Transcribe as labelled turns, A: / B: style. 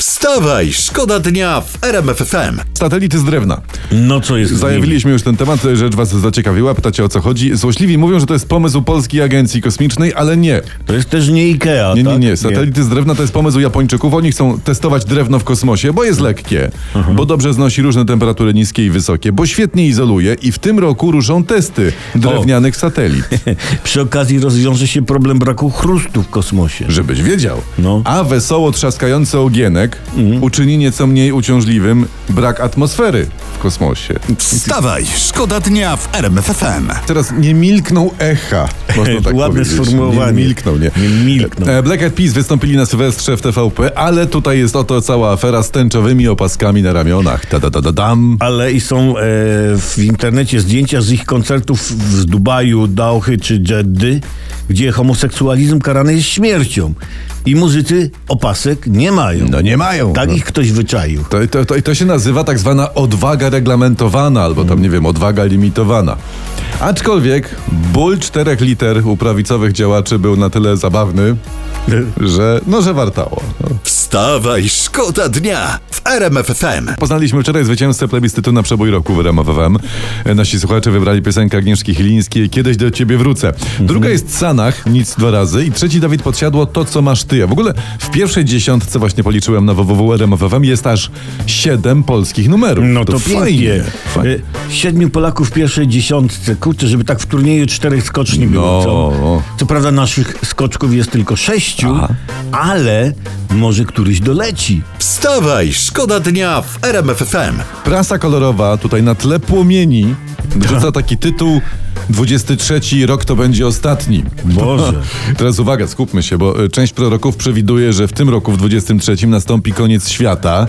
A: Wstawaj, szkoda dnia w RMFFM.
B: Satelity z drewna.
C: No co jest z nimi?
B: Zajawiliśmy już ten temat, rzecz was zaciekawiła, pytacie o co chodzi. Złośliwi mówią, że to jest pomysł Polskiej Agencji Kosmicznej, ale nie.
C: To jest też nie Ikea,
B: Nie, nie,
C: tak?
B: nie. Satelity z drewna to jest pomysł Japończyków. Oni chcą testować drewno w kosmosie, bo jest lekkie, bo dobrze znosi różne temperatury niskie i wysokie, bo świetnie izoluje i w tym roku ruszą testy drewnianych satelit.
C: Przy okazji rozwiąże się problem braku chrustu w kosmosie.
B: Żebyś wiedział.
C: No. Mhm.
B: A wesoło trzaskający ogienek uczyni nieco mniej uciążliwym brak atmosfery w kosmosie.
A: Wstawaj, szkoda dnia w RMFFM.
B: Teraz nie milknął echa. Można tak
C: Ładne
B: powiedzieć.
C: sformułowanie.
B: Nie milknął, nie.
C: Nie milknął.
B: E, Black Eyed Peas wystąpili na Sylwestrze w TVP, ale tutaj jest oto cała afera z tęczowymi opaskami na ramionach. Ta da da da dam.
C: Ale i są e, w internecie zdjęcia z ich koncertów w Dubaju, Dauchy czy Jeddy, gdzie homoseksualizm karany jest śmiercią. I muzycy opasek nie mają.
B: No nie mają.
C: Tak
B: No.
C: ich ktoś wyczaił.
B: To, to, to, to się nazywa tak zwana odwaga reglamentowana, albo tam, nie wiem, odwaga limitowana. Aczkolwiek ból czterech liter u prawicowych działaczy był na tyle zabawny, że no, że wartało. No.
A: Wstawaj, szkoda dnia w RMFFM.
B: Poznaliśmy wczoraj zwycięzcę plebiscytu na przebój roku w RMFWM. Nasi słuchacze wybrali piosenkę Agnieszki Chylińskiej Kiedyś do ciebie wrócę. Druga jest Sanach, nic dwa razy. I trzeci Dawid Podsiadło, To co masz ty. A w ogóle w pierwszej dziesiątce właśnie policzyłem na www.rmfwm jest aż siedem polskich numerów.
C: No to,
B: fajnie.
C: pięknie.
B: fajnie.
C: E, Siedmiu Polaków w pierwszej dziesiątce. Kurczę, żeby tak w turnieju czterech skoczni było.
B: No.
C: Co, co prawda naszych skoczków jest tylko sześciu, ale może któryś doleci.
A: Wstawaj, szkoda dnia w RMFFM.
B: Prasa kolorowa tutaj na tle płomieni
C: Tak.
B: rzuca taki tytuł 23 rok to będzie ostatni.
C: Boże.
B: Teraz uwaga, skupmy się, bo y, część proroków przewiduje, że w tym roku, w 23, nastąpi koniec świata,